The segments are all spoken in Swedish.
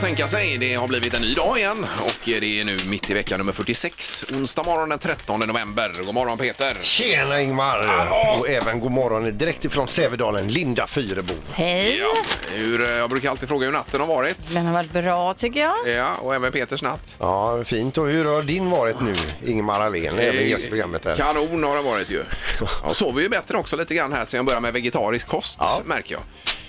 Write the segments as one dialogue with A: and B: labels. A: backa sig. Det har blivit en ny dag igen och det är nu mitt i vecka nummer 46. Onsdag morgon den 13 november. God morgon Peter!
B: Tjena Ingmar! Och även god morgon direkt ifrån Sävedalen, Linda Fyrebo.
C: Hej!
A: Ja, hur, eh, jag brukar alltid fråga hur natten har varit.
C: Den har varit bra tycker jag.
A: Ja, och även Peters natt.
B: Ja, fint. Och hur har din varit nu, Ingmar Ahlén, även gästprogrammet här?
A: Kanon har det varit ju. Jag sover ju bättre också lite grann här sen jag började med vegetarisk kost märker jag.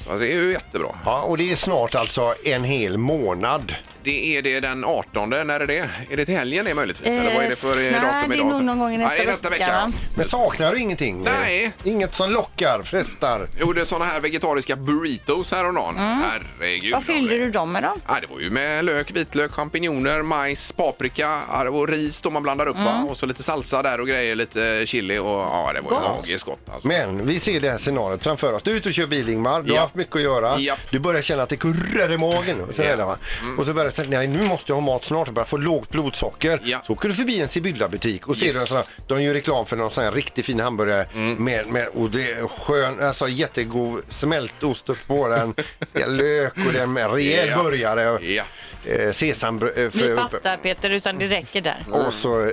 A: Så det är ju jättebra.
B: Ja, och det är snart alltså en hel månad.
A: Det är det den 18, när är det? Är det till helgen det möjligtvis? Eller vad är det för eh,
C: nej,
A: datum
C: det är
A: idag?
C: nog någon gång i
A: Ja,
C: nästa
A: det är nästa vecka.
C: vecka, va?
B: Men saknar du ingenting?
A: Nej.
B: Inget som lockar, frestar?
A: Jag gjorde såna här vegetariska burritos häromdagen. Herregud.
C: Mm. Vad fyllde
A: André.
C: du dem med då?
A: Ja, det var ju med lök, vitlök, champinjoner, majs, paprika ja, det var ris då man blandar upp
C: Mm.
A: va? och så lite salsa där och grejer, lite chili och ja, det var ju
C: Gott.
A: magiskt gott alltså.
B: Men vi ser det här scenariot framför oss. Du är ute och kör bil Ingmar, du
A: Ja.
B: har haft mycket att göra.
A: Japp.
B: Du börjar känna att det kurrar i magen. Och så,
A: Ja. Mm.
B: där, va? och så börjar du tänka, nej nu måste jag ha mat snart, jag börjar få lågt blodsocker.
A: Ja.
B: Så åker du förbi en Sibylla-butik och ser
A: Yes. Mm.
B: en sån här, de gör reklam för någon sån här riktigt fin hamburgare med, med, och det är skön, alltså jättegod smältost upp på den, det är lök och det är en rejäl
A: Ja.
B: burgare.
A: Ja.
B: Eh, sesambröd. eh, för-
D: Vi
B: uppe.
D: fattar Peter, utan det räcker där.
B: Och så, eh,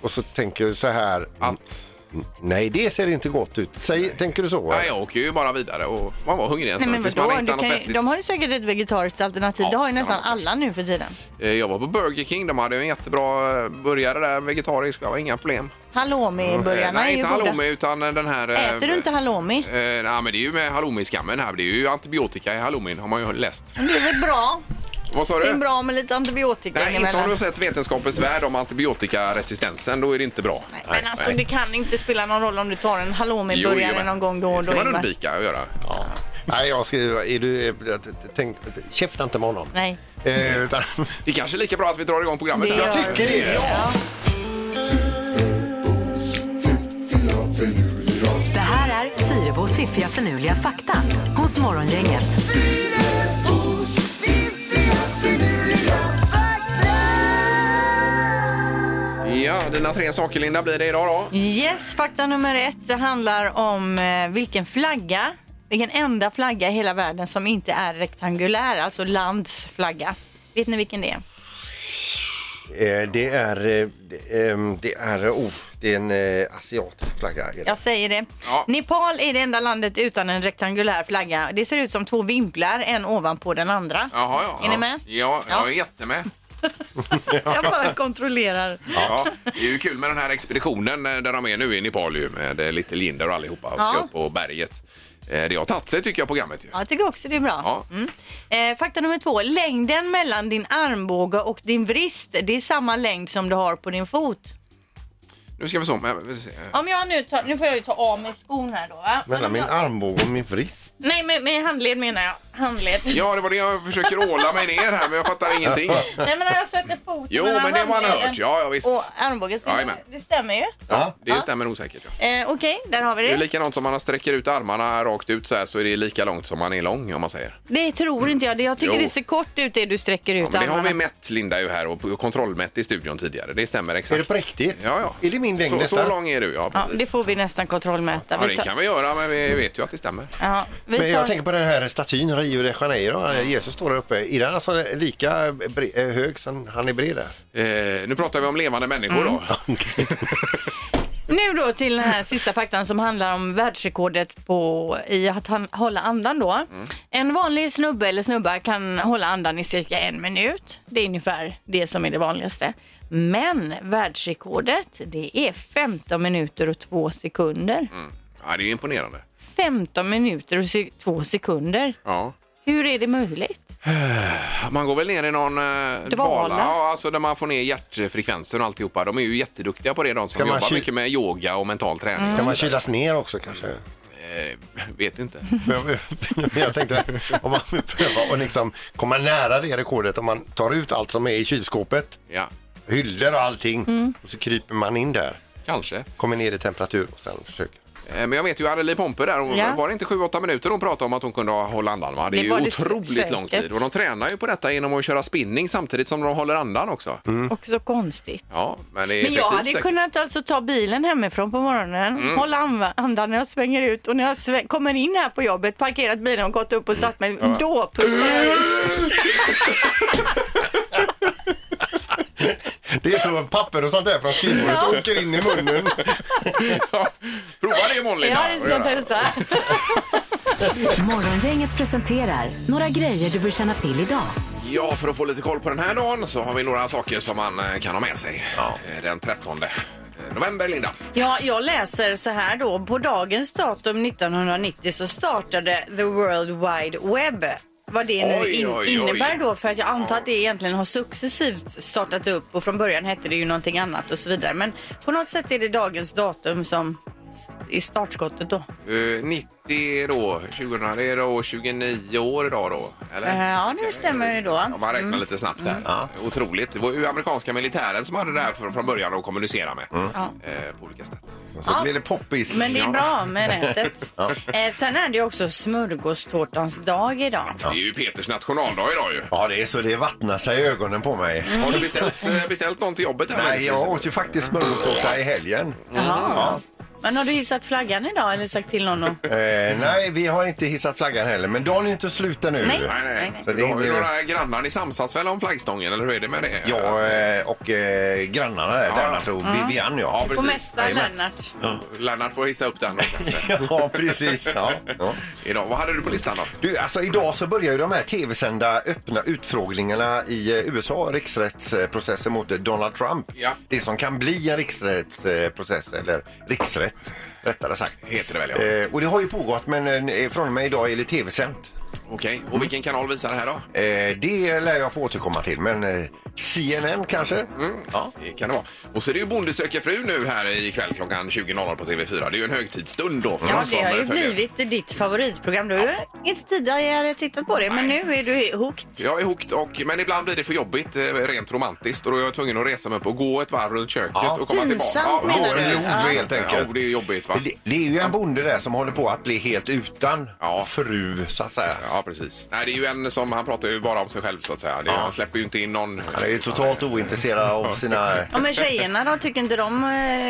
B: och så tänker du så här,
A: Att,
B: nej det ser inte gott ut. Säg, tänker du så?
A: nej, jag åker ju bara vidare och man var hungrig en
C: Nej,
A: stund
C: men
A: tills
C: vadå?
A: man
C: Du
A: hittade
C: kan,
A: något
C: ju-
A: vettigt.
C: de har ju säkert ett vegetariskt alternativ.
A: Ja,
C: det har ju
A: det
C: nästan
A: har de.
C: alla nu för tiden.
A: Eh, Jag var på Burger King, de hade ju en jättebra eh, burgare där, vegetarisk, det var inga problem. Eh,
C: Halloumi-burgarna är
A: nej,
C: ju
A: inte
C: goda.
A: halloumi utan eh, den här... eh,
C: Äter du inte halloumi?
A: Eh, nej, men det är ju med halloumiskammen här. Det är ju antibiotika i halloumin har man ju läst.
C: Men Det är väl bra?
A: Vad sa
C: Mm. Det är
A: du?
C: bra med lite antibiotika
A: Eh. Nej, inte om
C: emellan.
A: du har sett Vetenskapens värld om antibiotikaresistensen. Då är det inte bra.
C: Nej, Men alltså det kan inte spela någon roll om du tar en
A: Jo,
C: halloumi-burgare
A: jajamän.
C: någon gång då och
A: Det
C: då.
A: ska man
C: Ingmar.
A: undvika att göra.
B: Nej, jag skriver... Är du, tänk, käfta inte med honom.
D: Nej.
B: Eh, utan,
A: Det är kanske är lika bra att vi drar igång programmet.
C: Det
A: här.
C: gör vi.
B: tycker det.
C: Ja.
E: Det här är Fyrabos fiffiga förnuliga fakta hos Morgongänget.
A: Ja, dina tre saker Linda blir det idag då.
C: Yes, fakta nummer ett det handlar om eh, vilken flagga, vilken enda flagga i hela världen som inte är rektangulär, alltså lands flagga. Vet ni vilken det är?
B: eh, det är... eh, det, ehm, Det är, oh, det är en eh, asiatisk flagga. är det.
C: Jag säger det.
A: Ja.
C: Nepal är det enda landet utan en rektangulär flagga. Det ser ut som två vimplar, en ovanpå den andra.
A: Jaha, ja.
C: Är ni med?
A: Ja, jag
C: Ja.
A: är jättemed.
C: Jag bara kontrollerar.
A: Ja. Det är ju kul med den här expeditionen eh, där de är nu i Nepal ju, med eh, Little Jinder och allihopa och ska
C: Ja.
A: upp på berget. Eh, Det har tagit sig tycker jag programmet ju.
C: Ja, jag tycker också det är bra.
A: Ja.
C: Mm. Eh, fakta nummer två. Längden mellan din armbåge och din vrist, det är samma längd som du har på din fot.
A: Nu ska vi se. men- vi ska se.
C: Om jag nu tar, nu får jag ju ta av mig skon här då va?
B: Mellan min armbåge och min vrist.
C: Nej, med, med handled menar jag. Handled.
A: Ja, det var det jag försöker åla mig ner här, men jag fattar ingenting.
C: Nej, men jag sätter foten
A: Jo, men det har man hört. Ja, ja visst.
C: Och armbågen, så
A: Jajamän.
C: det stämmer ju.
B: Ja.
A: Det stämmer nog säkert. Ja.
C: Eh, Okej, där har vi
A: Det
C: det.
A: är
C: Det,
A: likadant som man sträcker ut armarna rakt ut så här så är det lika långt som man är lång om man säger.
C: tror inte jag. Det- Jag tycker
A: Jo.
C: det ser kort ut det du sträcker ut
A: Ja, men det har
C: armarna.
A: vi mätt Linda ju här och och kontrollmätt i studion tidigare. Det stämmer exakt.
B: Är det på riktigt?
A: Ja, ja.
B: Är det min längd
A: så,
B: detta?
A: så lång är du, ja.
C: Ja,
A: precis.
C: det får vi nästan kontrollmäta.
A: Ja,
C: Vi
A: det
C: tar-
A: kan vi göra, men vi vet ju att det stämmer.
C: Ja, vi
B: Men jag
C: tar...
B: tänker på den här statyn Rio de Janeiro. Han- Jesus står där uppe. Är den alltså lika bre- eh, hög som han är bred där?
A: Eh, nu pratar vi om levande människor
B: Mm.
A: då.
C: Nu då till den här sista faktan som handlar om världsrekordet på, i att han, hålla andan då. En vanlig snubbe eller snubba kan hålla andan i cirka en minut. Det är ungefär det som är det vanligaste. Men världsrekordet, det är 15 minuter och 2 sekunder.
A: Ja, det är imponerande.
C: 15 minuter och 2 sekunder.
A: Ja.
C: Hur är det möjligt?
A: Man går väl ner i någon eh,
C: Dvala.
A: dvala, ja, alltså där man får ner hjärtfrekvensen och alltihopa. De är ju jätteduktiga på det, de som
B: Kan man
A: jobbar
B: kyl-
A: mycket med yoga och mental träning.
B: Kan man kylas ner också kanske? Mm.
A: Eh, vet inte.
B: Men jag tänkte om man vill pröva och liksom komma nära det rekordet om man tar ut allt som är i kylskåpet.
A: Ja.
C: Mm.
B: hyllor och allting. Och så kryper man in där.
A: Kanske.
B: Kommer ner i temperatur och sen försöker.
A: Eh, Men jag vet ju Anneli Pompe där, hon,
C: Ja.
A: var det inte 7-8 minuter hon pratade om att hon kunde hålla andan? Va? Det är
C: Det
A: ju
C: var det
A: otroligt
C: säkert.
A: lång tid och de tränar ju på detta genom att köra spinning samtidigt som de håller andan också.
C: Och så konstigt.
A: Ja, men det är
C: Men jag
A: effektivt
C: hade
A: säkert.
C: kunnat alltså ta bilen hemifrån på morgonen, hålla anv- andan när jag svänger ut och när jag sväng- kommer in här på jobbet, parkerat bilen och gått upp och satt mig. Då pustar jag ut.
B: Det är som papper och sånt där från skrivbordet åker in i munnen.
A: Ja, Prova det imorgon Linda.
C: Ja, det ska jag testa.
E: Morgongänget presenterar några grejer du bör känna till idag.
A: Ja, för att få lite koll på den här dagen så har vi några saker som man eh, kan ha med sig. Eh, Den 13 november, Linda.
C: Ja, jag läser så här då. På dagens datum 1990 så startade The World Wide Web. Vad det nu
A: Oj,
C: in-
A: oj, oj.
C: innebär då, för att jag antar
A: Ja.
C: att det egentligen har successivt startat upp och från början hette det ju någonting annat och så vidare. Men på något sätt är det dagens datum som i startskottet då.
A: Eh, 90 då, 2000, det är då 29 år idag då, eller?
C: Eh, ja, det stämmer ju då.
A: Om man räknar lite snabbt här. Otroligt. Det var ju amerikanska militären som hade det här från, från början att kommunicera med.
C: Ja.
A: Eh, på olika sätt.
B: Så blir det poppis.
C: Men det är
A: Ja.
C: bra med nätet. eh, sen är det ju också smörgåstårtans dag idag.
A: Det är ju Peters nationaldag idag ju.
B: Ja, det är så det vattnar sig i ögonen på
C: Mm.
B: mig.
A: Har du beställt, eh, beställt någon till jobbet? här,
B: Nej,
A: möjligtvis?
B: jag åt ju faktiskt smörgåstårta i helgen.
C: Jaha. Men har du hissat flaggan idag eller sagt till någon? att-
B: Eh, nej, vi har inte hissat flaggan heller, men dagen är inte slut ännu.
C: Nej.
A: Nej, nej.
B: Så det
A: Du har ju
B: hinner-
A: några grannar, ni samsas väl om flaggstången eller hur är det med det?
B: Ja, eh, och eh, grannarna där, Lennart och Vivian, ja.
A: Ja,
C: Får
A: precis.
C: mästa
A: Jajamän.
C: Lennart.
A: Lennart får hissa upp den då, kanske.
B: Ja, precis. Ja. Ja.
A: idag. Vad hade du på listan då?
B: Du, alltså idag så börjar ju de här tv-sända öppna utfrågningarna i eh, USA, riksrättsprocessen mot eh, Donald Trump.
A: Ja.
B: Det som kan bli en riksrättsprocess, eller riksrätt rättare sagt.
A: Heter det väl, ja.
B: Eh, och det har ju pågått, men eh, från och med idag är det tv-sänt.
A: Okej, och vilken kanal visar det här då?
B: Eh, det lär jag få återkomma till, men eh, CNN kanske?
A: Ja, det kan det vara. Och så är det ju Bonde söker fru nu här ikväll klockan 20.00 på TV4. Det är ju en högtidsstund då. för
C: Ja,
A: oss
C: det har
A: som
C: ju
A: följer.
C: blivit ditt favoritprogram. Du har ju inte tidigare tittat på det, men nu är du hooked.
A: Jag är hooked, och, men ibland blir det för jobbigt eh, rent romantiskt och då är jag tvungen att resa mig upp och gå ett varv runt köket
B: Ja.
A: och komma tillbaka.
C: Pinsamt, menar
B: du?
A: precis.
B: Ja. Helt enkelt.
A: Ja, det är jobbigt va?
B: Det, det är ju en bonde där som håller på att bli helt utan
A: Ja.
B: fru, så att säga.
A: Ja, precis. Nej, det är ju en som, han pratar ju bara om sig själv så att säga. Det, Han släpper ju inte in någon.
B: Han är ju totalt ointresserad av sina...
C: Ja, men tjejerna då, tycker inte de eh,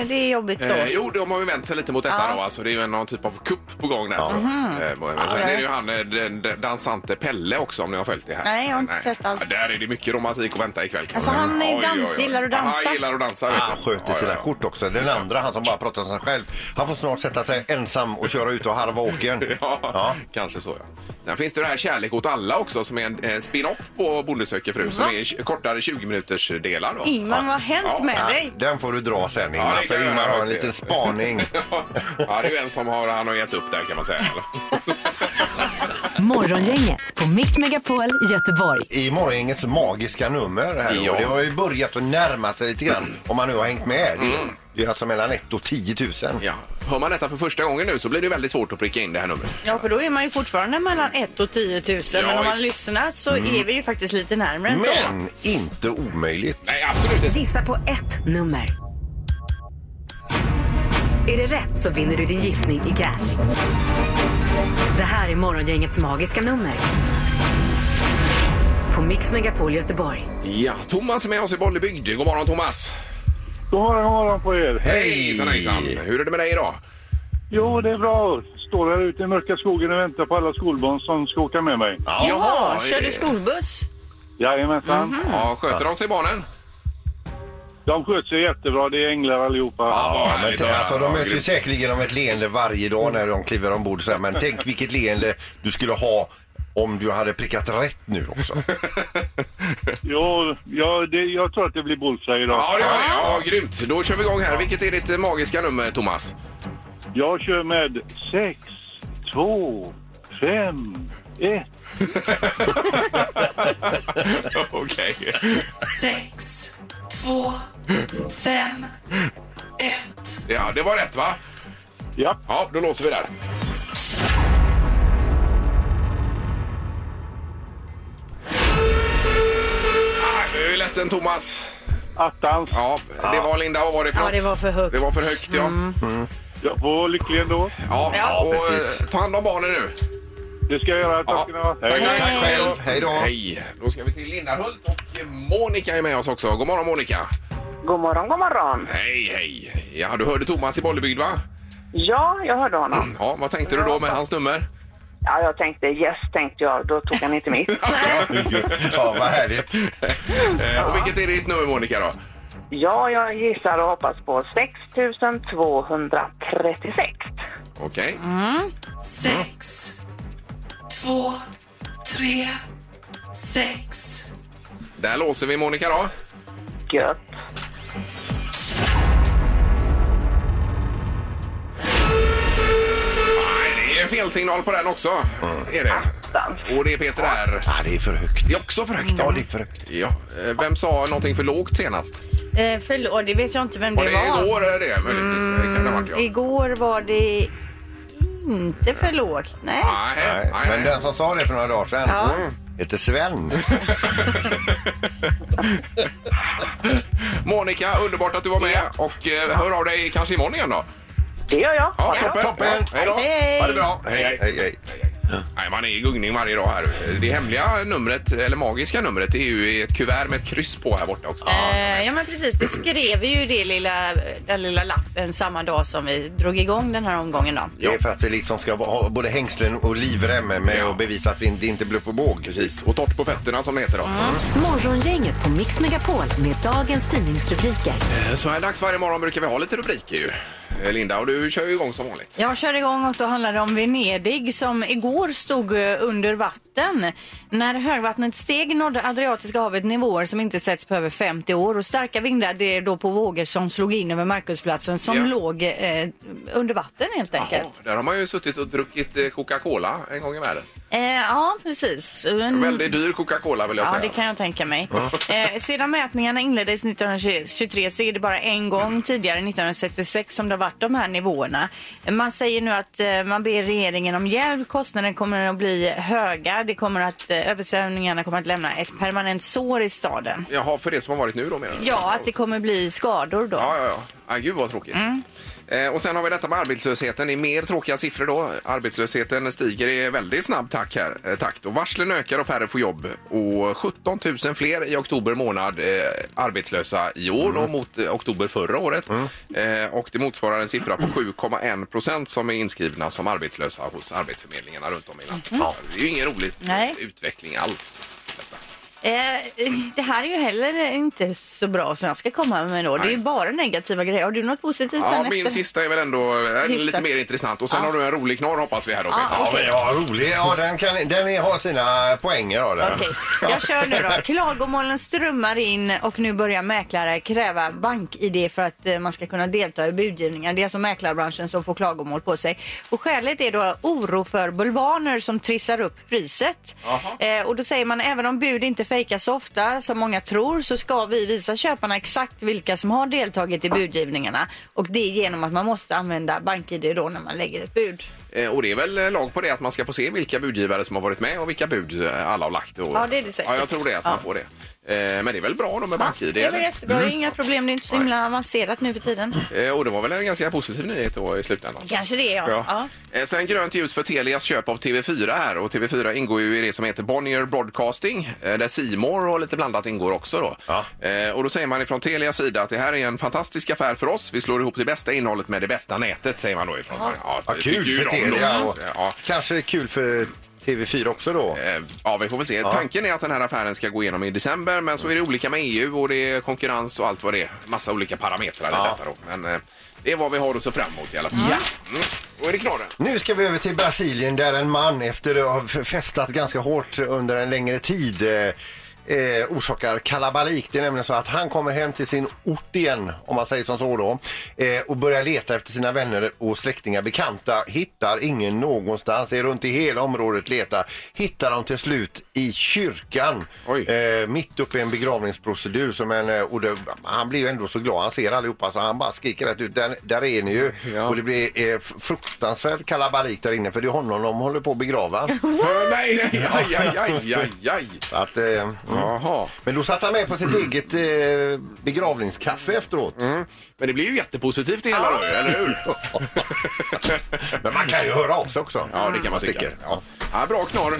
C: det är jobbigt då?
A: Eh, jo, de har ju vänt sig lite mot detta
C: Ja. Mhm.
A: då. Alltså, det är ju en- någon typ av kupp på gång där tror jag. Eh, men sen är det ju han eh, den- den dansante Pelle också om ni har följt det här.
C: Nej, jag har inte sett alls.
A: Ja, där är det mycket romantik att vänta ikväll. kan
C: Alltså,
A: man säga.
C: han är
A: Oj, oj, oj.
C: dans- gillar att dansa.
A: Ja, Han gillar att dansa. vet
B: Han
A: du.
B: Ah, sköter
A: Ja,
B: sina
A: ja, ja.
B: kort också. Den andra, han som bara pratar om sig själv, han får snart sätta sig ensam och köra ut och harva åkern.
A: Ja,
B: Ja.
A: kanske så ja. Sen finns det det här Kärlek åt alla också som är en, en spin-off på Bonde söker fru som är tj- kortare 20 minuters delar då.
C: Ingmar, vad har hänt
A: Ja.
C: med dig?
B: Den får du dra sen
A: Ja,
B: Ingmar,
A: det kan
B: för
A: jag
B: Ingmar
A: göra,
B: har en
A: just det.
B: liten spaning.
A: ja, det är ju en som har, han har gett upp där kan man säga.
E: Morgongänget på Mix Megapol Göteborg.
B: I morgongängets magiska nummer här
A: Ja.
B: och det har ju börjat att närma sig lite grann om man nu har hängt med. Det är alltså mellan 1 och 10 000.
A: Mm. ja. Hör man detta för första gången nu så blir det ju väldigt svårt att pricka in det här numret.
C: Ja, för då är man ju fortfarande mellan 1 och 10 000. men om man
A: visst. Mm.
C: lyssnat så är vi ju faktiskt lite närmare än så.
B: Men inte omöjligt.
A: Nej, absolut inte.
E: Gissa på ett nummer. Är det rätt så vinner du din gissning i cash. Det här är Morgongängets magiska nummer. På Mix Megapol Göteborg.
A: Ja, Thomas är med oss i Bollebygd. God morgon Thomas!
F: God morgon, god morgon på er.
A: Hejsan hejsan! Hur är det med dig idag?
F: Jo, det är bra. Står här ute i mörka skogen och väntar på alla skolbarn som ska åka med mig.
A: Ja,
C: Jaha, kör du skolbuss?
F: Jajamensan.
A: Ja, sköter de sig barnen?
F: De sköter sig jättebra. Det är änglar allihopa.
A: vad
B: Ja, men
A: härligt
B: tänk,
A: att
B: alltså,
A: höra.
B: de möts ju säkerligen om ett leende varje dag när de kliver ombord. Så här, men tänk vilket leende du skulle ha om du hade prickat rätt nu också.
F: Jo, ja, det, jag tror att det blir bullseye idag.
A: Ja, det gör det. Ja, grymt. Då kör vi igång här. Vilket är ditt eh, magiska nummer, Thomas?
F: Jag kör med 6, 2, 5, 1.
A: Okej.
G: sex, två, fem, ett.
A: Ja, det var rätt, va?
F: Ja,
A: Ja, då låser vi där. Ah, Jag är ledsen, Thomas.
F: Attans.
A: Ja, det var Linda. Vad var det för
C: Ja,
A: något?
C: det var för högt. Mm.
A: Det var för högt, ja.
F: Jag får lycklig ändå.
A: Ja,
C: Ja.
A: och
B: Precis.
A: eh, ta hand om barnen nu.
F: Det ska jag göra. Tack ska ni ha.
A: Tack, tack, tack. Hej då.
B: Hej då.
A: Hej. Då ska vi till Linnarhult och eh, Monica är med oss också. God morgon Monica.
H: God morgon, god morgon.
A: Hej, hej. Ja, du hörde Thomas i Bollebygd va?
H: Ja, jag hörde honom.
A: Ja, vad tänkte du då med hans nummer?
H: Ja, jag tänkte yes, tänkte jag. Då tog han inte mitt.
B: Ja, vad härligt.
A: Eh, och vilket är ditt nummer Monica då?
H: Ja, jag gissar och hoppas på 6236.
A: Okej.
G: Mm. sex, två, tre, sex.
A: Där låser vi Monica då.
H: Gött.
A: Nej, det är fel signal på den också.
B: Mm.
A: Är det. Och det är Peter här.
B: Ja, det är för högt.
A: Det är också för högt.
G: Mm.
B: Ja, det är för högt.
A: Ja. Eh, Vem sa någonting för lågt senast?
C: Eh, förlåt, det vet jag inte vem det
A: Var
C: var.
A: det igår eller det? Möjligtvis. Det kan det ha varit, ja.
C: Igår var det inte för lågt. Nej.
A: Nej,
B: Nej,
A: nej,
B: men
A: nej.
B: den som sa det för några dagar sedan Mm.
C: Ja.
B: heter Sven.
A: Monica, underbart att du var med. Och eh, hör av dig kanske imorgon igen då.
H: Det gör jag.
A: Ja, toppen.
B: Toppen.
A: Ja, hej då.
C: Hej.
A: Ha det bra. Hej, hej.
B: Hej, hej.
A: Nej, man är i gungning varje dag här. Det hemliga numret, eller magiska numret, är ju i ett kuvert med ett kryss på här borta också.
C: Eh, ja men precis, det skrev vi ju det lilla, den lilla lappen samma dag som vi drog igång den här omgången då.
B: Det är för att vi liksom ska ha både hängslen och livrem med
A: Ja.
B: och bevisa att vi inte, det inte är bluff och båg.
A: Precis. Och torrt på fötterna som det heter då.
C: Mm.
E: Morgongänget på Mix Megapol med dagens tidningsrubriker.
A: Eh, Så här dags varje morgon brukar vi ha lite rubriker ju. Eh, Linda, och du kör ju igång som vanligt.
C: Jag kör igång och då handlar det om Venedig som igår stod eh, under vatten. När högvattnet steg nådde Adriatiska havet nivåer som inte setts på över 50 år och starka vindar drev då på vågor som slog in över Markusplatsen som
A: Ja.
C: låg eh, under vatten helt enkelt.
A: Jaha, där har man ju suttit och druckit eh, Coca-Cola en gång i världen.
C: Eh, ja, precis. En-
A: Väldigt dyr Coca-Cola vill jag
C: Ja,
A: säga.
C: det kan jag tänka mig. Eh, sedan mätningarna inleddes 1923 så är det bara en gång tidigare, 1966, som det har varit de här nivåerna. Man säger nu att eh, man ber regeringen om hjälp. Kostnaden kommer att bli höga. Det kommer att, eh, översvämningarna kommer att lämna ett permanent sår i staden.
A: Jaha, för det som har varit nu då menar du?
C: Ja, att det kommer bli skador då.
A: Ja, ja, ja. Ah, gud vad tråkigt.
C: Mm.
A: Eh, och sen har vi detta med arbetslösheten. Det är mer tråkiga siffror då. Arbetslösheten stiger i väldigt snabb takt här. Eh, takt. Och varslen ökar och färre får jobb. Och 17 000 fler i oktober månad eh, arbetslösa i år
C: Mm.
A: då, mot eh, oktober förra året. Eh, och det motsvarar en siffra på 7,1 procent som är inskrivna som arbetslösa hos arbetsförmedlingarna runt om i landet. Ja, det är ju ingen rolig
C: Mm. Nej.
A: utveckling alls.
C: Eh, det här är ju heller inte så bra som jag ska komma med då. Det är ju bara negativa grejer. Har du något positivt sen
A: Ja,
C: efter?
A: min sista är väl ändå eh, lite
C: Hyfsat.
A: mer intressant. Och sen har du en rolig knorr hoppas vi här då. Peter.
B: Ja, men ja, rolig. Ja, den, kan, den är- har sina poänger. Då, den.
C: Okej, jag kör nu då. Klagomålen strömmar in och nu börjar mäklare kräva bank-id för att eh, man ska kunna delta i budgivningar. Det är alltså mäklarbranschen som får klagomål på sig. Och skälet är då oro för bulvaner som trissar upp priset. Eh, och då säger man även om bud inte fejkas så ofta som många tror så ska vi visa köparna exakt vilka som har deltagit i budgivningarna. Och det är genom att man måste använda bank-id då när man lägger ett bud.
A: Eh, Och det är väl eh, lag på det att man ska få se vilka budgivare som har varit med och vilka bud eh, alla har lagt. Och,
C: Ja, det är det säkert.
A: Ja, jag tror det att man får det. Eh, Men det är väl bra då med bank-id?
C: det är väl
A: eller?
C: jättebra, det är inga problem. Det är inte så himla avancerat nu för tiden.
A: Eh, Och det var väl en ganska positiv nyhet då i slutändan?
C: Kanske det, ja. ja.
A: Eh, Sen grönt ljus för Telias köp av TV4 här och TV4 ingår ju i det som heter Bonnier Broadcasting eh, där C More och lite blandat ingår också då.
B: Ja.
A: Eh, Och då säger man ifrån Telias sida att det här är en fantastisk affär för oss. Vi slår ihop det bästa innehållet med det bästa nätet säger man då ifrån. Ja,
B: Ja,
A: det tycker
B: kul
A: ju
B: för
A: de då.
B: Telia och
A: Ja.
B: kanske kul för TV4 också då.
A: Eh, Ja, vi får väl se. Tanken är att den här affären ska gå igenom i december, men så är det olika med EU och det är konkurrens och allt vad det är. Massa olika parametrar i detta då. Men eh, det är vad vi har att se fram emot i alla fall. Ja. Mm. Och är det knorren?
B: Nu ska vi över till Brasilien där en man efter att ha f- festat ganska hårt under en längre tid eh, eh, orsakar kalabalik. Det är nämligen så att han kommer hem till sin ort igen, om man säger som så då, eh, och börjar leta efter sina vänner och släktingar, bekanta. Hittar ingen någonstans, är runt i hela området letar. Hittar dem till slut i kyrkan.
A: Oj.
B: Eh, mitt uppe i en begravningsprocedur. Som en, eh, och det, han blir ju ändå så glad. Han ser allihopa så han bara skriker rätt ut. Där, där är ni ju.
A: Ja.
B: Och det blir eh, f- fruktansvärd kalabalik där inne för det är honom de håller på att begrava.
A: Nej, nej, aj, aj, aj, aj, aj.
B: Så att, eh, mm.
A: Jaha.
B: Men då satt han med på sitt eget eh, begravningskaffe efteråt.
A: Men det blir ju jättepositivt det hela då, eller hur?
B: Men man kan ju höra av sig också.
A: Ja, det kan man tycka.
B: Sticker, ja.
A: Ja, bra knorr.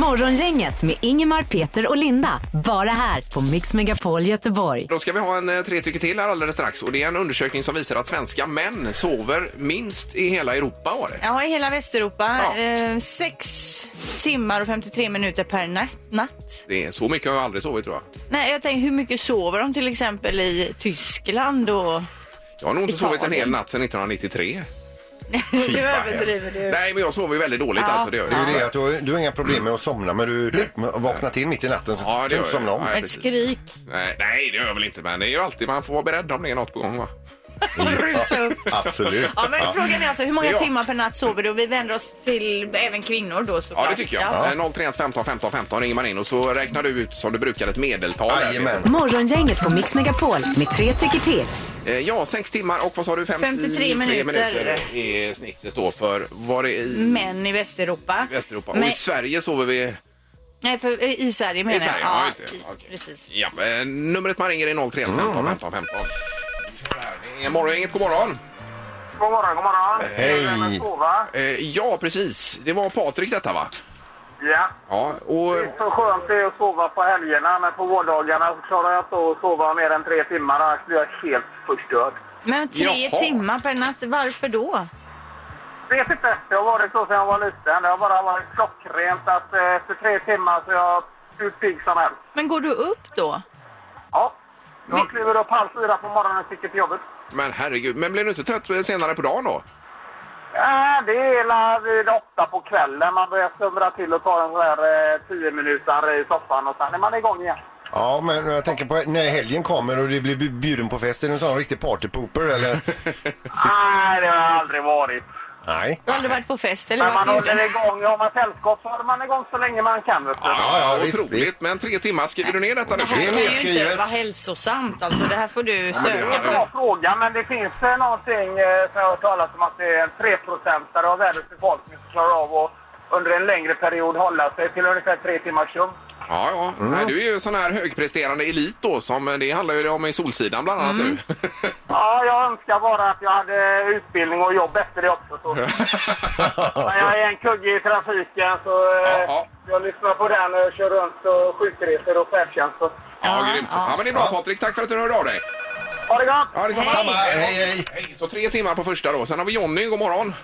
E: Morgongänget med Ingemar, Peter och Linda. Bara här på Mix Megapol Göteborg.
A: Då ska vi ha en eh, tre tycker till här alldeles strax. Och det är en undersökning som visar att svenska män sover minst i hela Europa. Var det?
C: Ja, i hela Västeuropa.
A: Ja.
C: Eh, sex timmar och 53 minuter per natt. natt.
A: det är så mycket har jag aldrig sovit tror jag.
C: Nej, jag tänker hur mycket sover de till exempel i Tyskland och...
A: Jag har nog inte
C: Italien.
A: sovit en hel natt sedan 1993.
C: Nu överdriver du.
A: Nej, men jag sover väldigt dåligt alltså. Det gör
B: Det är
A: jag.
B: ju det att du, har, du har inga problem med att somna men du vaknar till mitt i natten så
A: Ja, det
B: kan du
A: gör
B: inte
A: jag.
B: somna om.
A: Nej,
C: Ett
A: precis.
C: skrik.
A: Nej, nej, det gör jag väl inte. Men det är ju alltid, man får vara beredd om det är något på gång. Va?
C: Rusa upp.
B: Absolut.
C: Ja, men frågan är alltså hur många
A: Ja.
C: timmar per natt sover du? Och vi vänder oss till även kvinnor då såklart.
A: Ja, det tycker jag. Eh, Ja. 031 15 15 15 ringer man in och så räknar du ut som du brukar ett medeltal. där.
B: Jajamän.
E: Morgongänget på Mix Megapol med tre tycker till.
A: Eh, Ja, sex timmar och vad sa du?
C: 53 minuter. Mm.
A: är snittet då för var det i
C: Män i Västeuropa.
A: Västeuropa. Och
C: Men,
A: i Sverige sover vi...
C: nej, för, eh, i Sverige menar
A: I Sverige,
C: jag.
A: ja, just det.
C: i-
A: Okej.
C: Precis.
A: Ja, eh, numret man ringer är 031 15 15 15. Det är Morgongänget, god morgon!
H: God morgon, god morgon.
B: Hej.
H: Det är Lennart Kova.
A: Eh, Ja, precis. Det var Patrik detta, va?
H: Ja.
A: Ja, och...
H: Det är så skönt det är att sova på helgerna, men på vårdagarna så klarar jag inte att sova mer än tre timmar. Annars blir jag helt förstörd.
C: Men tre
A: Jaha.
C: timmar per natt, varför då?
H: Vet inte. Det typ har varit så sedan jag var liten. Det har bara varit klockrent att eh, efter tre timmar så är jag hur pigg som helst.
C: Men går du upp då?
H: Ja. Jag kliver upp halv fyra på morgonen och sticker till jobbet.
A: Men herregud, men blev du inte trött senare på dagen då?
H: Ja, det är hela vid åtta på kvällen. Man börjar slumra till och ta en sån här eh, tio minuter i soffan och sen är man igång igen.
B: Ja, men jag tänker på när helgen kommer och du blir bj- bjuden på fest. Är du en sån riktig partypooper eller?
H: Nej, det har jag aldrig varit.
B: Nej.
C: Du har aldrig varit på fest eller
H: Men man
C: varit
H: håller
C: ute?
H: igång. Har man sällskap så håller man igång så länge man kan. Vet du.
B: Ja, ja, visst,
A: Otroligt,
B: visst.
A: men tre timmar. Skriver du ner detta nu?
C: Det här
B: är
C: kan ju inte
B: nedskrivet.
C: vara hälsosamt alltså. Det här får du
A: men det
C: söka
H: Det är en
A: Ja.
H: bra
C: för.
H: fråga, men det finns eh, någonting eh, som jag har hört talas om att det är 3 procentare av världens befolkning som klarar av att under en längre period hålla sig till ungefär tre timmars sömn.
A: Ja, ja. Nej, du är ju sån här högpresterande elit då, som eh, det handlar ju om i Solsidan bland annat nu.
H: Ja, jag önskar bara att jag hade utbildning och jobb efter det också. Så. Men jag är en kugge i trafiken så eh,
A: Ja, ja.
H: jag lyssnar på den och kör runt och sjukresor och färdtjänst. och-
A: ja, grymt. Ja, men det är bra Patrik. Tack för att du hörde av dig.
H: Ha det gott!
A: Ja, det är
B: Samma, hej, hej.
A: Hej, så tre timmar på första då. Sen har vi Jonny, god morgon.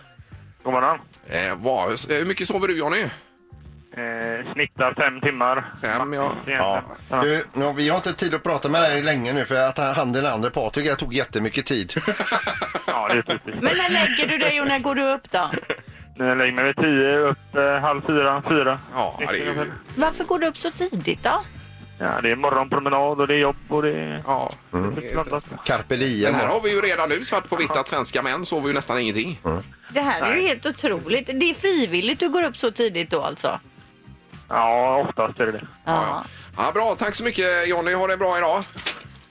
F: God morgon.
A: Eh, vad, eh, hur mycket sover du Jonny?
F: Eh, snittar fem timmar.
A: Fem, ja.
B: Ja. Du, nu, vi har inte tid att prata med dig länge nu för att han den andra Patrik jag tog jättemycket tid.
F: Ja, det är precis.
C: Men när lägger du dig och när går du upp då?
F: Nu lägger mig vid tio, upp eh, halv fyra, fyra.
A: Ja, det är ju...
C: Varför går du upp så tidigt då?
F: Ja, det är morgonpromenad och det är jobb och det är...
A: Ja. det är stress.
F: blandat.
B: Carpe
A: Men
B: diem.
A: här har vi ju redan nu svart på vitt att svenska män sover ju nästan ingenting.
C: Det här är ju helt otroligt. Det är frivilligt du går upp så tidigt då alltså?
F: Ja, oftast är det det.
A: Ja, ja. ja, bra. Tack så mycket Jonny. Ha det bra idag.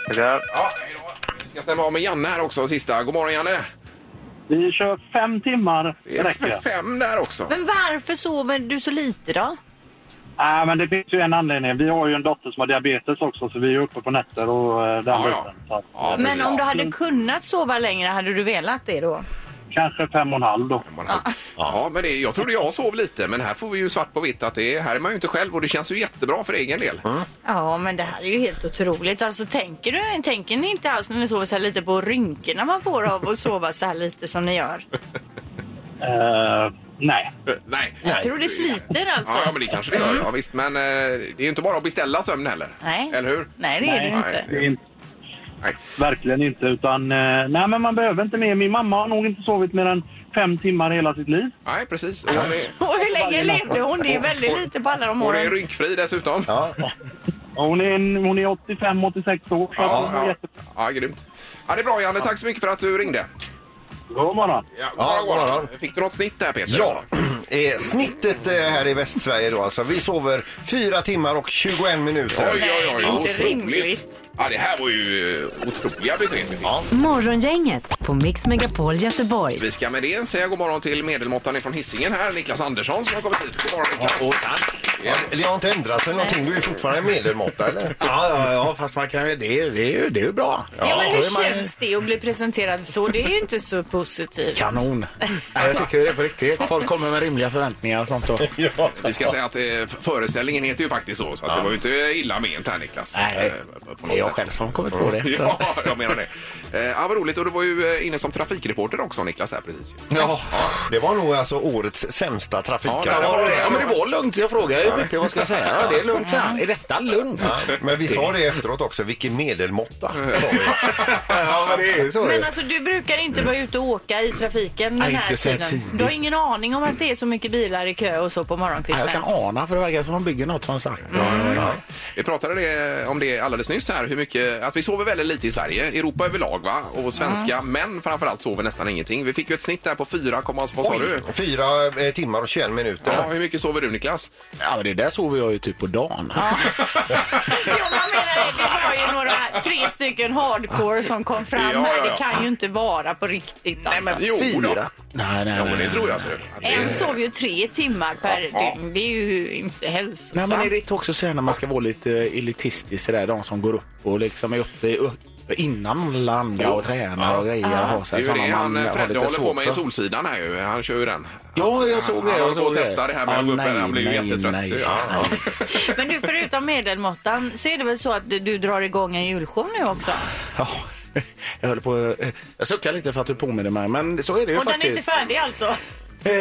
F: Tackar.
A: Ja, hej då. Vi ska stämma av med Janne här också sista. God morgon Janne.
I: Vi kör fem timmar,
A: Det är
I: räcker det.
A: fem där också.
C: Men varför sover du så lite då?
I: Nej, men det finns ju en anledning. Vi har ju en dotter som har diabetes också, så vi är uppe på nätter och eh, den
A: Ja, ja.
I: biten. Så att,
A: Ja,
I: eh,
A: precis. Mm.
C: Men om du hade kunnat sova längre, hade du velat det då?
I: Kanske fem och en halv då.
A: Man har- Ja, men det, jag trodde jag sov lite, men här får vi ju svart på vitt att det är, här är man ju inte själv och det känns ju jättebra för egen del.
C: Ja, men det här är ju helt otroligt. Alltså, tänker, du, tänker ni inte alls när ni sover så här lite på rynkorna man får av att sova så här lite som ni gör?
I: Eh, nej.
A: Nej.
C: Jag tror det sliter alltså.
A: Ja, ja, men det kanske det gör. Ja, visst. Men eh, det är ju inte bara att beställa sömn heller.
C: Nej.
A: Eller hur?
C: Nej, det är det ju inte.
I: Det är inte,
A: Nej.
I: verkligen inte. Utan, eh, nej, men man behöver inte mer. Min mamma har nog inte sovit mer än fem timmar hela sitt liv.
A: Nej, precis. Och hon är,
C: Och hur länge levde hon? Det är väldigt lite på alla de
A: hon är
C: åren.
A: rynkfri dessutom. Ja,
B: Ja.
I: Och Hon är, en- hon är 85-86 år, så att hon är
A: ja.
I: jätte...
A: ja grymt. Ja, det är bra, Janne. Tack så mycket för att du ringde.
I: God morgon.
A: Ja,
B: Ja, god morgon.
A: Fick du något snitt där, Peter?
B: Ja, eh, snittet eh, här i Västsverige då alltså. Vi sover 4 timmar och 21
A: Oj,
B: minuter.
A: oj, oj.
C: Nej, det är inte
A: otroligt.
C: rimligt.
A: Ja, det här var ju eh, otroliga besked vi fick.
E: Morgongänget på Mix Megapol Göteborg.
A: Vi ska med det säga god morgon till medelmåttan från Hisingen här, Niklas Andersson som har kommit hit. God morgon Niklas!
B: Ja, det har inte ändrat sig någonting. Du är fortfarande medelmåtta, eller?
J: Ja, ja, ja, fast man kan, ju- det, är- det, är ju- det är ju bra.
C: Ja, men
J: då
C: hur
J: är man-
C: känns det att bli presenterad så? Det är ju inte så positivt.
J: Kanon! Nej, jag tycker det är på riktigt. Folk kommer med rimliga förväntningar och sånt. Och...
A: Vi ska säga att eh, föreställningen heter ju faktiskt så, så att det var ju inte illa ment här Niklas.
J: Nej,
A: Eh, på
J: det
A: något
J: är jag
A: sätt.
J: själv som har kommit på det.
A: Ja, jag menar det. Eh, ja, vad roligt. Och du var ju eh, inne som trafikreporter också Niklas här precis.
J: Ja,
B: Det var nog alltså årets sämsta
A: Ja, det var
B: trafikradar.
A: det.
J: ja, men det var lugnt. Jag frågade ju BP vad ska jag säga. Ja, det är lugnt, så här. Är detta lugnt?
B: Men vi sa det efteråt också, vilken medelmåtta. sa vi.
J: Ja, men det är ju så.
C: Men alltså du brukar inte vara ute och åka i trafiken den
J: Nej,
C: här
J: inte så
C: tiden.
J: tidigt.
C: Du har ingen aning om att det är så mycket bilar i kö och så på
J: Ja,
C: morgonkvisten.
J: jag kan ana för det verkar som de bygger något som sagt.
A: Vi pratade det, om det alldeles nyss här, hur mycket, att vi sover väldigt lite i Sverige, Europa överlag va? Och svenska män framförallt sover nästan ingenting. Vi fick ju ett snitt där på 4, vad sa du?
B: Fyra eh, timmar och 21 minuter.
A: Ja, hur mycket sover du Niklas?
J: Ja, men det där sover jag ju typ på dagen.
C: Jo, men jag menar, det var ju några, tre stycken hardcore som kom fram
A: Ja,
C: här.
A: ja, ja.
C: Det kan ju inte vara på riktigt alltså.
A: Jo, då.
J: Nej, nej,
A: Ja, men
J: nej.
A: det tror jag. Så.
C: En sov ju tre timmar per
A: Ja.
C: dygn. Det är ju inte
J: Nej,
C: hälsosamt.
J: men är det inte också så här när man ska vara lite elitistisk sådär, de som går upp och liksom är uppe uppe innan landa och tränar och grejer. och har
A: Det
J: sig
A: är ju
J: sådana
A: det han eh,
J: man har
A: Fredde
J: lite
A: håller på
J: svårt
A: med i
J: för.
A: Solsidan här ju. Han kör ju den.
J: Ja, jag såg det.
A: Han
J: Jag
A: håller på
J: såg
A: att testa det här med att gå upp här. Han blir ju jättetrött.
J: Nej,
A: Ja.
J: nej.
C: Men du, förutom medelmåttan så är det väl så att du, du drar igång en julshow nu också?
J: Ja. Jag höll på eh, Jag suckar lite för att du påminner mig, men så är det ju
C: Och den är inte
J: faktiskt.
C: färdig alltså?
J: Eh,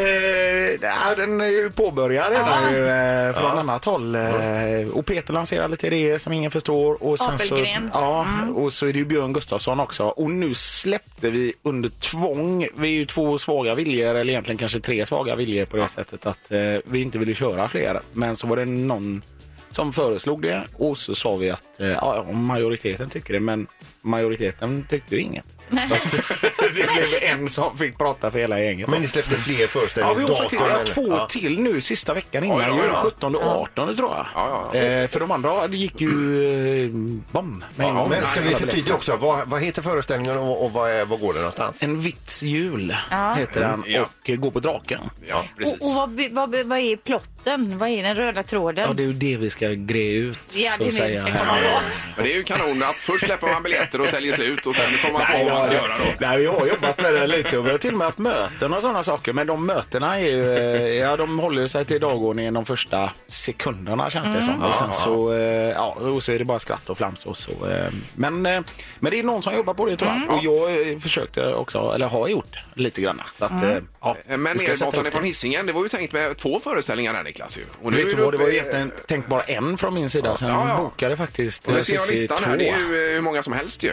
J: nej, den är ju påbörjad redan ju, eh, från annat håll. Eh, och Peter lanserar lite idéer som ingen förstår. Och sen så,
C: Apelgren.
J: ja, och så är det ju Björn Gustafsson också. Och nu släppte vi under tvång. Vi är ju två svaga viljor, eller egentligen kanske tre svaga viljor på det sättet att eh, vi inte ville köra fler. Men så var det någon som föreslog det och så sa vi att eh, ja, ja, majoriteten tycker det men majoriteten tyckte ju inget. Så att det blev en som fick prata för hela gänget.
B: Men ni släppte fler
J: Ja, vi har
B: föreställningsdatum?
J: faktiskt vi har
B: eller?
J: två
B: Ja.
J: till nu sista veckan
A: Oj då,
J: innan
A: oj
J: jul.
A: då.
J: 17 och 18 tror jag.
A: Ja, ja.
J: Eh, för de andra det gick ju eh, bom. med en
B: Ja,
J: gång.
B: men ska
J: Alla
B: vi
J: biljetter.
B: förtydliga också, vad, vad heter föreställningen och, och vad, är, vad går den någonstans?
J: En vits jul heter den
A: Ja.
J: och eh, gå på draken.
A: Ja, precis.
J: Oh,
C: Och, och vad, by- vad, by- vad är plotten? Vad är den röda tråden?
J: Ja, det är ju det vi ska greja ut.
C: Ja, det är
J: så
C: det vi
J: säga
C: ska
J: här.
C: komma ihåg.
A: Men det är ju kanon att först släpper man biljetter och säljer slut och sen kommer man på
J: Nej,
A: vad man ska
J: jag-
A: göra då.
J: Nej, vi har jobbat med det lite och vi har till och med haft möten och sådana saker. Men de mötena är ju, eh, ja, de håller ju sig till dagordningen de första sekunderna känns det som. Och sen så, eh, ja, och så är det bara skratt och flams och så. eh, Men, eh, men det är någon som jobbar på det tror jag. Och jag eh, försökte också, eller har gjort lite grann. Så att, eh, ja,
A: Men
J: vi ska sätta
A: Medelmåttan
J: ihop
A: från
J: det.
A: Hisingen, det var ju tänkt med två föreställningar där Niklas ju. Och
J: Vet
A: är
J: du
A: du
J: vad, det var
A: uppe-
J: ju egentligen tänkt bara en från min sida. Sen
A: Ja, ja.
J: bokade faktiskt
A: Och
J: eh,
A: nu ser jag
J: Cissi
A: listan här,
J: två.
A: det är ju eh, hur många som helst ju.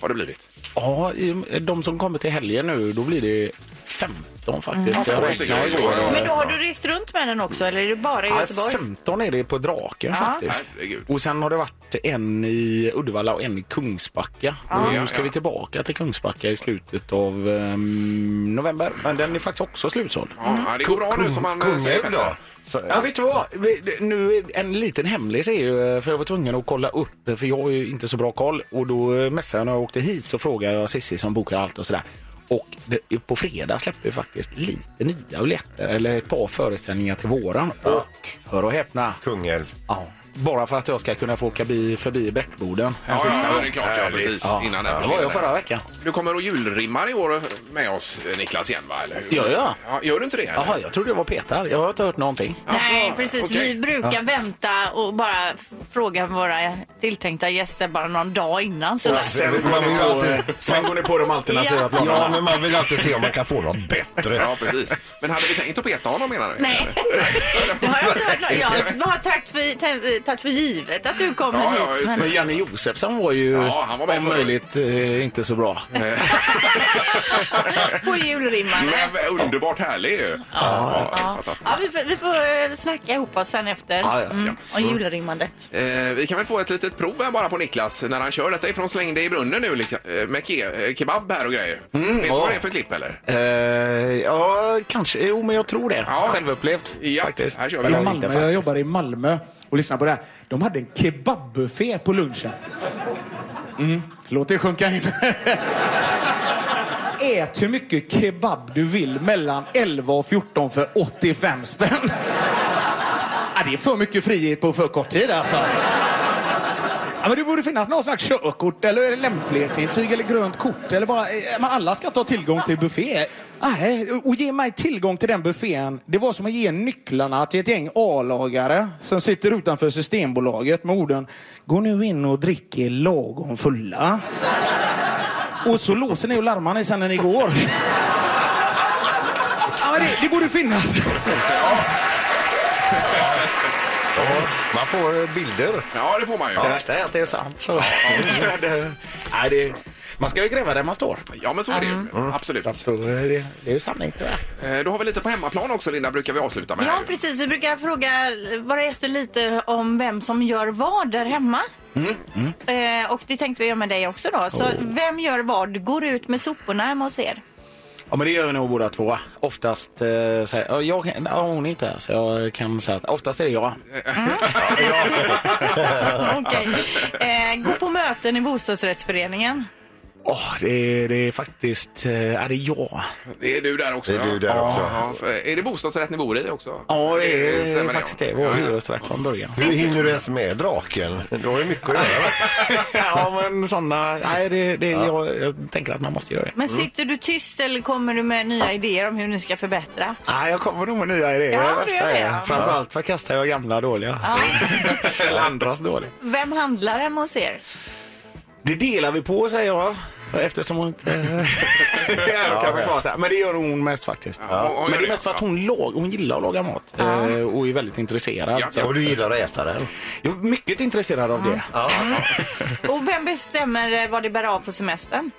A: Har det blivit.
J: Ja, i- de som kommer till helgen nu, då blir det 15 faktiskt.
A: Mm.
J: Jag
A: Oj,
J: räknar
A: oj,
J: ju
A: oj, oj.
J: då.
C: Men då har du rest runt med den också eller är det bara i
J: Nej,
C: Göteborg?
J: 15 är det på Draken faktiskt.
A: Herregud.
J: Och sen har det varit en i Uddevalla och en i Kungsbacka. Och nu ska
A: Ja, ja.
J: vi tillbaka till Kungsbacka i slutet av ehm, november. Men den är faktiskt också slutsåld.
A: Ja, ja, det går bra nu som man eh, säger
B: Kungälv
A: Petter.
B: då? Så,
J: Ja, vet du vad? Vi- Nu är en liten hemlis är ju, eh, för jag var tvungen att kolla upp, för jag har ju inte så bra koll. Och då eh, messade jag när jag åkte hit så frågade jag Sissi som bokar allt och sådär. Och det, på fredag släpper vi faktiskt lite nya biljetter, eller ett par föreställningar till våren. Och, hör och häpna,
B: Kungälv.
J: ja, bara för att jag ska kunna få åka bi, förbi Bräckboden en
A: Ja,
J: sista
A: ja,
J: gång.
A: det är klart. Ja, precis.
J: Ja.
A: Innan
J: det
A: här
J: var jag förra veckan.
A: Du kommer och julrimmar i år med oss, eh, Niklas, igen va? Eller hur?
J: Gör jag?
A: Ja, gör du inte det? eller?
J: Jaha, jag trodde jag var Petar. Jag har inte hört någonting.
C: Nej,
A: Alltså,
C: precis.
A: okej.
C: Vi brukar vänta och bara f- fråga våra tilltänkta gäster bara någon dag innan. Så
J: Sen går,
B: Man vill
J: ni
B: ju alltid-
J: på, sen går ni på de alternativa
C: Ja.
J: planerna.
B: Ja, men man vill alltid se om man kan få något bättre.
A: Ja, precis. Men hade vi tänkt att peta honom menar du?
C: Nej, det har jag inte hört. något- Jag har tagit för, tagit- tagit för givet att du kommer
A: Ja, ja,
C: hit.
A: just
C: men-
J: Men Janne Josefsson var ju
A: Ja, han var med
J: om
A: förra
J: möjligt eh, inte så bra.
C: På julrimmarna.
A: Men v- underbart härlig ju. Ja, ja,
C: Ja,
A: fantastiskt.
C: vi, får, vi får eh, snacka ihop oss sen efter.
J: Ja, ja, ja.
C: Mm, om julrimmandet.
A: Eh, vi kan väl få ett litet prov här bara på Niklas när han kör detta ifrån Släng dig i brunnen nu liksom, eh, med ke- eh, kebab här och grejer. Vet du
J: Mm, ja.
A: vad det är för klipp eller?
J: Eh, ja, kanske. Jo, men jag tror det.
A: Ja.
J: Självupplevt
A: Ja,
J: faktiskt.
A: här kör vi. I Malmö,
J: jag jobbade i Malmö och lyssnade på det här. De hade en kebabbuffé på lunchen.
K: Mm. Låt det sjunka in. Ät hur mycket kebab du vill mellan 11 och 14 för 85 spänn. ja, det är för mycket frihet på för kort tid alltså. Ja, men det borde finnas någon slags körkort eller lämplighetsintyg eller grönt kort. Eller bara, eh, men alla ska ta tillgång till buffé. Nej, och ge mig tillgång till den buffén. Det var som att ge nycklarna till ett gäng A-lagare som sitter utanför Systembolaget med orden Gå nu in och drick er lagom fulla. Och så låser ni och larmar ni sen när ni går. Ja, men det, det borde finnas.
B: Man får eh, bilder.
A: Ja, det får man ju.
B: Det värsta är att det är sant. Så.
J: Nej, det, man ska ju gräva där man står.
A: Ja, men så är det ju.
J: Mm.
A: Absolut.
J: det, det är ju sanning tyvärr.
A: Eh, Då har vi lite på hemmaplan också, Linda, brukar vi avsluta med. här
C: Ja,
A: ju.
C: precis. Vi brukar fråga våra gäster lite om vem som gör vad där hemma. Eh, och det tänkte vi göra med dig också då. Så
J: Oh.
C: vem gör vad? Går ut med soporna hemma hos er?
J: Ja, men det gör vi nog båda två. Oftast, eh, så här, ja, jag, kan- ja, hon är inte här så jag kan säga att oftast är det jag.
C: Okej. Eh, gå på möten i bostadsrättsföreningen.
J: Åh, det, är- det är faktiskt, eh, ja, det är jag.
A: Det är du där också.
J: Det är
A: ja.
J: du där
A: Ja,
J: också.
A: ja, för- är det bostadsrätt ni bor i också?
J: Ja, det är
A: stämmer
J: faktiskt
A: ja.
J: det. Vår
A: Ja, ja.
J: hyresrätt från början.
B: Hur hinner du ens med draken? Du har ju mycket att göra.
J: ja, men sådana, nej, det, det, jag, jag tänker att man måste göra det.
C: Men sitter du tyst eller kommer du med nya idéer om hur ni ska förbättra?
J: Nej, jag kommer nog med nya idéer.
C: Ja,
J: Det är
C: du
J: värsta
C: gör det,
J: är-
C: ja.
J: Framförallt förkastar jag gamla dåliga. Eller andras dåliga.
C: Vem handlar hemma hos er?
J: Det delar vi på, säger jag. Eftersom hon inte... jag kan försvara sig. Men det gör hon mest faktiskt.
A: hon gör
J: Men det
A: det.
J: är mest för att hon, lag, hon gillar att laga mat eh, och är väldigt intresserad.
B: Ja, och du gillar att äta den?
J: Jag är mycket intresserad av det.
C: Och vem bestämmer eh, vad det bär av på semestern?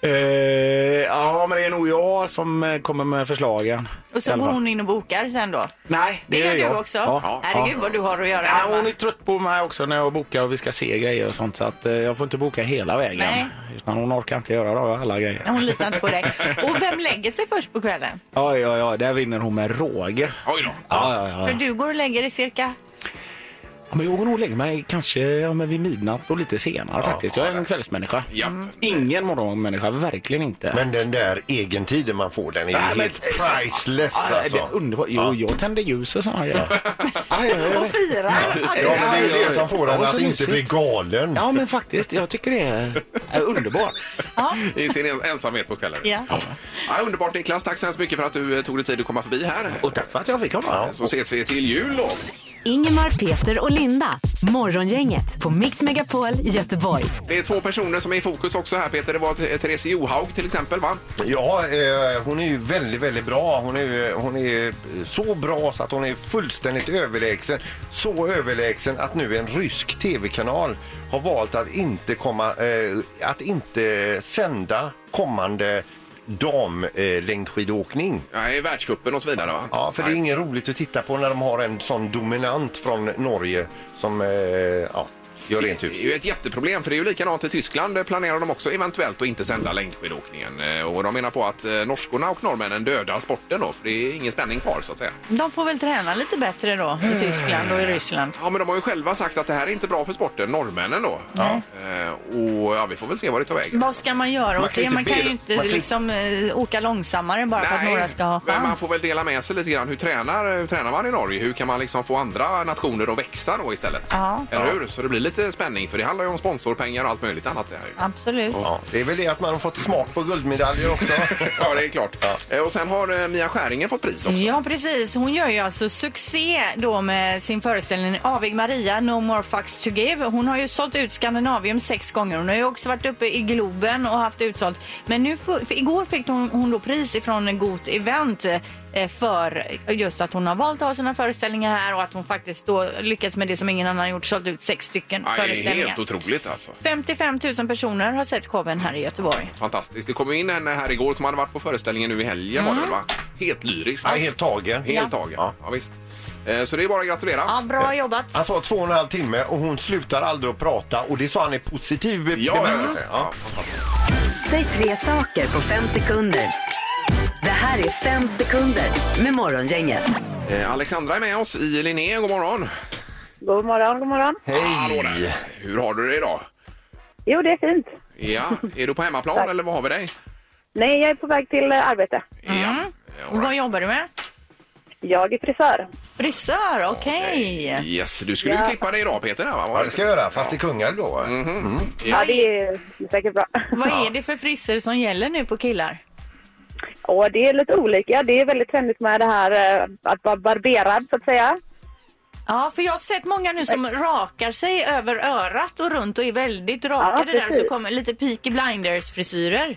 J: Eh, ja, men det är nog jag som eh, kommer med förslagen.
C: Och så
J: I alla
C: går
J: fall.
C: hon in och bokar sen då?
J: Nej, det,
C: Det gör
J: gör
C: du
J: jag.
C: också? Herregud vad du har att göra
J: Ja,
C: hemma.
J: hon är trött på mig också när jag bokar och vi ska se grejer och sånt så att eh, jag får inte boka hela vägen.
C: Nej.
J: Utan hon orkar inte göra då, alla grejer.
C: Hon litar inte på dig. Och vem lägger sig först på kvällen?
J: Ja, ja, ja, där vinner hon med råge.
A: Oj då.
J: Ja, ja,
C: För
J: ja.
C: du går och lägger dig cirka...
J: Ja, Men jag går nog och lägger mig kanske ja, men vid midnatt och lite senare faktiskt. Jag är en kvällsmänniska. Mm. Ingen morgonmänniska, verkligen inte.
B: Men den där egentiden man får, den är ju
J: Nej, men-
B: helt priceless
J: Ja,
B: alltså.
J: Ah, det är underbart. Jo, jag tänder ljus och sådana grejer.
C: Och firar.
B: Ja, men det är ju det som får en
J: Ja,
B: att
J: så
B: inte
J: mysigt.
B: bli galen.
J: Ja, men faktiskt. Jag tycker det är, är underbart.
A: I sin en- ensamhet på kvällen.
C: Ja.
A: Ja, underbart Niklas, tack så hemskt mycket för att du eh, tog dig tid att komma förbi här.
J: Och tack för att jag fick komma.
A: Så ses vi till jul då.
E: Ingemar, Peter och Linda. Morgongänget på Mix Megapol Göteborg.
A: Det är två personer som är i fokus också här Peter. Det var Th- Therese Johaug till exempel va?
B: Ja, eh, hon är ju väldigt, väldigt bra. Hon är, ju- hon är så bra så att hon är fullständigt överlägsen. Så överlägsen att nu en rysk tv-kanal har valt att inte, komma, eh, att inte sända kommande eh, damlängdskidåkning.
A: Nej, världscupen och så vidare va?
B: Ja, för det är inget roligt att titta på när de har en sån dominant från Norge som eh, ja, gör rent
A: Det
B: hus.
A: är ju ett jätteproblem för det är ju likadant i Tyskland. Där planerar de också eventuellt att inte sända längdskidåkningen. Eh, Och de menar på att eh, norskorna och norrmännen dödar sporten då för det är ingen spänning kvar så att säga.
C: De får väl träna lite bättre då i Tyskland och i Ryssland.
A: Ja, men de har ju själva sagt att det här är inte bra för sporten, norrmännen då. Eh, Och ja, vi får väl se vad det tar vägen.
C: Vad ska man göra
A: Man
C: åt
A: kan ju inte
C: det? Man kan
A: be dem.
C: ju inte
A: Man kan ju-
C: liksom eh, åka långsammare bara för att några ska ha
A: men man
C: chans.
A: får väl dela med sig lite grann. Hur tränar, hur tränar man i Norge? Hur kan man liksom få andra nationer att växa då istället?
C: Ja.
A: Eller hur? Så det blir lite spänning för det handlar ju om sponsorpengar och allt möjligt annat det här. ju.
C: Absolut.
B: Ja, det är väl det att man har fått smak på guldmedaljer också.
A: Ja, det är klart. Eh, Och sen har eh, Mia Skäringer fått pris också.
C: Ja, precis. Hon gör ju alltså succé då med sin föreställning Avig Maria, No More Fucks To Give. Hon har ju sålt ut Skandinavium sex gånger. Hon har ju också varit uppe i Globen och haft utsålt. Men nu för, för igår fick hon, hon då pris ifrån Got Event eh, för just att hon har valt att ha sina föreställningar här och att hon faktiskt då lyckats med det som ingen annan gjort, sålt ut sex stycken
A: Ja, det är
C: föreställningar.
A: helt otroligt alltså.
C: 55 000 personer har sett showen här i Göteborg.
A: Fantastiskt. Det kom ju in en eh, här igår som hade varit på föreställningen nu i helgen var det väl, va? Helt lyrisk.
B: Ja, helt tagen.
A: Helt tagen. Ja. visst. Eh, Så det är bara att gratulera.
C: Ja, bra jobbat.
B: Han sa två och en halv timme och hon slutar aldrig att prata och det sa han i positiv be-
A: Ja,
B: bemärkelse. Ja.
E: Säg tre saker på fem sekunder. Det här är fem sekunder med Morgongänget.
A: Eh, Alexandra är med oss i Linné. God morgon!
L: God morgon, god morgon.
A: Hallå där. Hur har du det idag?
L: Jo, det är fint.
A: Ja, är du på hemmaplan eller vad har vi dig?
L: Nej, jag är på väg till eh, arbete.
A: Ja.
C: Vad jobbar du med?
L: Jag är frisör.
C: Frisör, okej.
A: Yes, du skulle ju
L: Ja.
A: klippa dig idag Peter. här, Va?
B: Ja, det ska jag göra. Fast i Kungälv då.
A: Mm,
L: Ja, det är säkert bra.
C: Vad är det för frisser som gäller nu på killar?
L: Och det är lite olika. Det är väldigt trendigt med det här eh, att vara barberad, så att säga.
C: Ja, för jag har sett många nu som rakar sig över örat och runt och är väldigt rakade där.
L: precis.
C: Så kommer lite Peaky Blinders-frisyrer.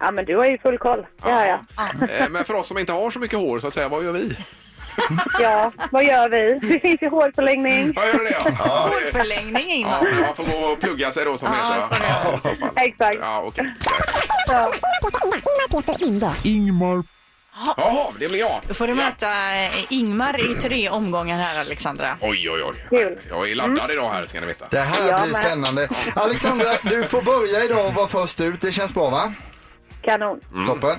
L: Ja, men du har ju full koll. Det har jag.
A: Eh, Men för oss som inte har så mycket hår så att säga, vad gör vi?
L: Ja, vad gör vi? Det finns ju hårförlängning.
A: Ja, gör det det? Ja, det-
C: Hårförlängning in.
A: Ja, men man får gå och plugga sig då som heter va? Ja, i så fall.
L: Exakt.
A: Ja, okej.
E: Linda.
M: Ingmar.
A: Jaha, det blir jag.
C: Då får du möta eh, Ingmar i tre omgångar här, Alexandra.
A: Oj, oj, oj.
L: Kul.
A: Jag är laddad idag här ska ni veta.
M: Det här blir spännande. Alexandra, du får börja idag och vara först ut. Det känns bra va?
L: Kanon.
M: Toppen.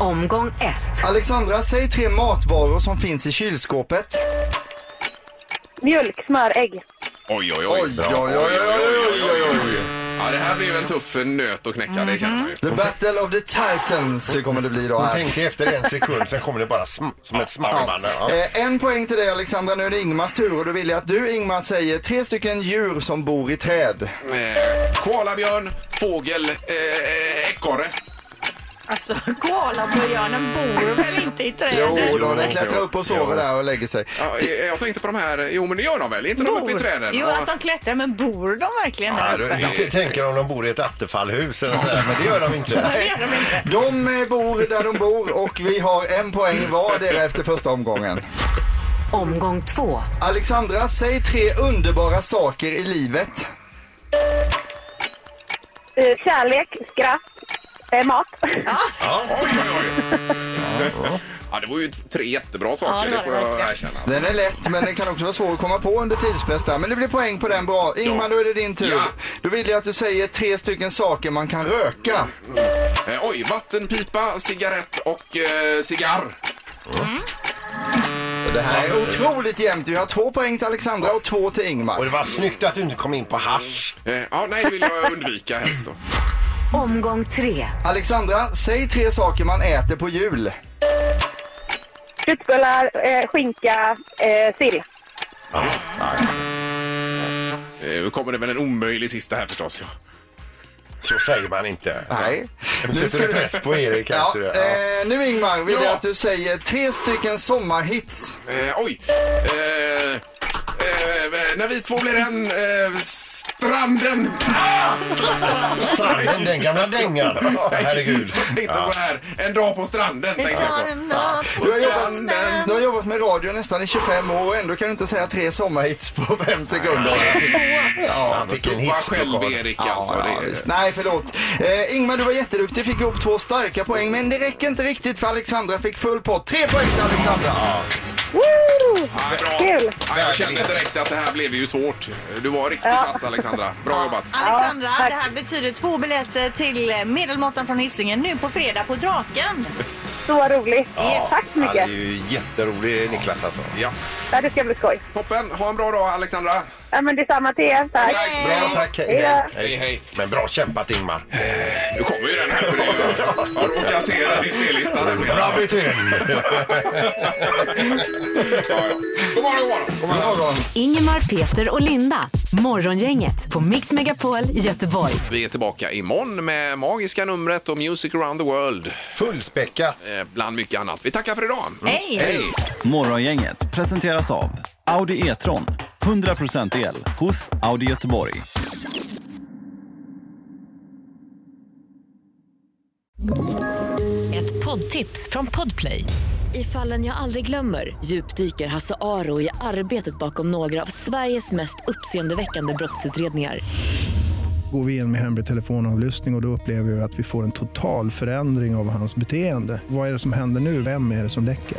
E: Omgång ett.
M: Alexandra, säg tre matvaror som finns i kylskåpet.
L: Mjölk, smör, ägg.
A: Oj, oj, oj. Bra.
M: oj, oj,
A: oj, oj, oj, oj. Ja, det här blev en tuff nöt att knäcka, det känner man ju.
M: The Battle of the Titans kommer det bli idag.
B: Hon
M: här.
B: tänkte efter en sekund, sen kommer det bara sm- som ett smack.
M: Ja. Eh, en poäng till dig Alexandra, nu är det Ingmars tur och då vill jag att du Ingmar säger tre stycken djur som bor i träd.
A: Eh, koalabjörn, fågel, eh, ekorre.
C: Alltså, koalabjörnen bor väl inte i trädet?
M: Jo, då, den klättrar upp och sover där och lägger sig.
A: Ja, eh, jag tänkte på de här, jo men det gör de väl? Är inte de uppe i träden?
C: Jo, att de klättrar, men bor de verkligen där uppe?
B: Jag t- tänker om de bor i ett attefallhus eller sådär, men det gör de inte.
M: De eh, bor där de bor och vi har en poäng vardera efter första omgången.
E: Omgång två.
M: Alexandra, säg tre underbara saker i livet.
L: Eh, Kärlek, skratt, eh, mat.
A: Ja, oj, oj, oj. Ja, det var ju tre jättebra saker, det får jag erkänna.
M: Den är lätt, men den kan också vara svår att komma på under tidspress där. Men det blir poäng på den, bra. Ingmar, då är det din tur.
A: Ja.
M: Då vill jag att du säger tre stycken saker man kan röka.
A: Eh, oj, vattenpipa, cigarett och eh, cigarr.
M: Det här är otroligt jämnt. Vi har två poäng till Alexandra och två till Ingmar.
B: Och det var snyggt att du inte kom in på hasch.
A: Eh, ja, nej, det vill jag undvika helst då.
M: Omgång tre. Alexandra, säg tre saker man äter på jul.
L: Köttbullar, eh, skinka, eh, sill.
A: Eh, Nu kommer det väl en omöjlig sista här förstås. Ja.
B: Så säger man inte.
M: Nej.
B: Nu sätter du press på Erik.
M: Ja,
B: alltså.
M: eh, nu Ingmar vill
A: Ja.
M: jag att du säger tre stycken sommarhits.
A: Eh, oj! Eh, eh, när vi två blir en... Eh, stranden!
B: Stranden, den gamla dängan. Ja, Herregud.
A: Jag tänkte på
B: Ja.
A: det här. En dag på stranden tänkte jag på.
M: Du har, jobbat, du har jobbat med radio nästan i 25 år och ändå kan du inte säga tre sommarhits på fem sekunder.
A: Ja,
B: Han fick en
A: Jobba
B: hits.
A: själv Erik alltså.
M: Ja,
A: det,
M: visst. Nej, förlåt. Eh, Ingmar, du var jätteduktig, fick ihop två starka poäng, men det räcker inte riktigt för Alexandra fick full pott. Tre poäng till Alexandra!
L: Woo!
A: Ja, bra.
L: Kul!
A: Ja, jag kände direkt att det här blev ju svårt. Du var riktigt kass Alexandra. Bra jobbat.
C: Alexandra, det här betyder två biljetter till Medelmåttan från Hisingen nu på fredag på Draken.
L: Så vad roligt. Tack så
B: Han är
L: mycket.
B: ju jätterolig Niklas alltså.
A: Ja.
L: Ja, det ska bli skoj.
A: Toppen. Ha en bra dag Alexandra.
L: Ja, men detsamma till er. Tack.
B: Bra, tack. Hej.
L: Hej då.
A: Hej hej.
B: Men bra kämpat Ingmar.
A: Nu kommer ju den här för det är ju... Jag råkar se den i spellistan. nämligen. Ja,
B: Rabbit in.
A: ja. God morgon, god morgon.
M: God morgon.
E: Ingemar, Peter och Linda. Morgongänget på Mix Megapol Göteborg.
A: Vi är tillbaka imorgon med magiska numret och Music around the world.
B: Fullspäckat.
A: Eh, Bland mycket annat. Vi tackar för idag.
C: Hej!
A: Hej.
N: Morgongänget presenteras av Audi E-tron. 100% el hos Audi Göteborg.
O: Ett poddtips från Podplay. I fallen jag aldrig glömmer djupdyker Hasse Aro i arbetet bakom några av Sveriges mest uppseendeväckande brottsutredningar.
P: Går vi in med hemlig telefonavlyssning och, och då upplever vi att vi får en total förändring av hans beteende. Vad är det som händer nu? Vem är det som läcker?